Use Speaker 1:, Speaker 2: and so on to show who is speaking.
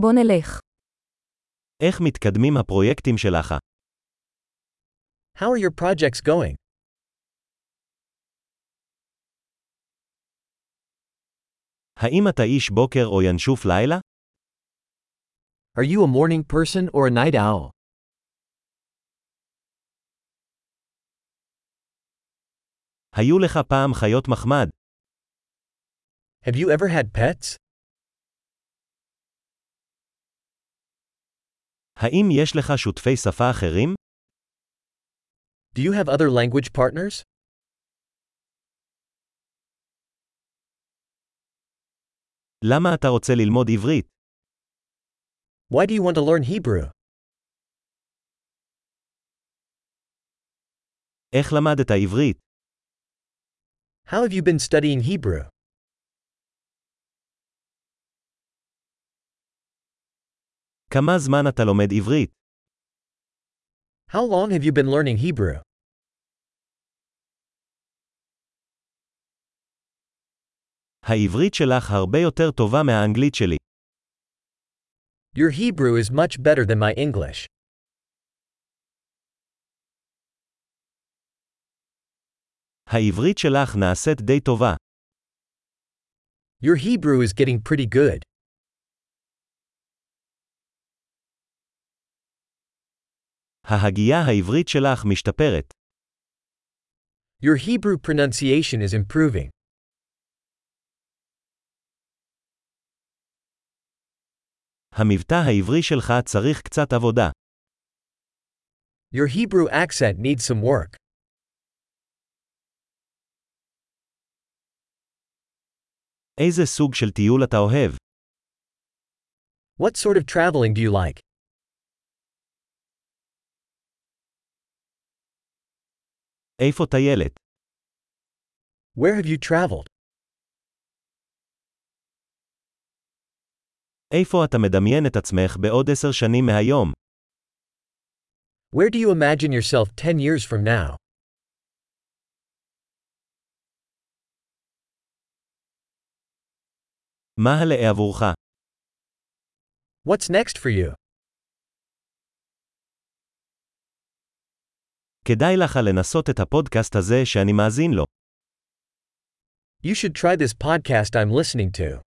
Speaker 1: בוא נלך.
Speaker 2: איך מתקדמים הפרויקטים שלך?
Speaker 3: How are your projects going?
Speaker 2: האם אתה איש בוקר או ינשוף לילה?
Speaker 3: Are you a morning person or a night owl?
Speaker 2: היו לך פעם חיות מחמד?
Speaker 3: Have you ever had pets?
Speaker 2: האם יש לך שותפי שפה אחרים?
Speaker 3: Do you have other language partners?
Speaker 2: למה אתה רוצה ללמוד עברית?
Speaker 3: Why do you want to learn Hebrew?
Speaker 2: איך למדת עברית?
Speaker 3: How have you been studying Hebrew?
Speaker 2: כמה זמן אתה לומד עברית?
Speaker 3: How long have you been learning Hebrew?
Speaker 2: העברית שלך הרבה יותר טובה מהאנגלית שלי.
Speaker 3: Your Hebrew is much better than my English.
Speaker 2: העברית שלך נעשית די טובה.
Speaker 3: Your Hebrew is getting pretty good.
Speaker 2: ההגייה העברית שלך משתפרת.
Speaker 3: Your Hebrew pronunciation is improving.
Speaker 2: המבטא העברי שלך צריך קצת עבודה.
Speaker 3: Your Hebrew accent needs some work.
Speaker 2: איזה סוג של טיול אתה אוהב?
Speaker 3: What sort of traveling do you like?
Speaker 2: איפה טיילת?
Speaker 3: Where have you traveled?
Speaker 2: איפה אתה מדמיין את עצמך בעוד עשר שנים מהיום?
Speaker 3: Where do you imagine yourself 10 years from now?
Speaker 2: מה הלאה עבורך?
Speaker 3: What's next for you?
Speaker 2: כדאי לך לנסות את הפודקאסט הזה שאני מאזין לו.
Speaker 3: You should try this podcast I'm listening to.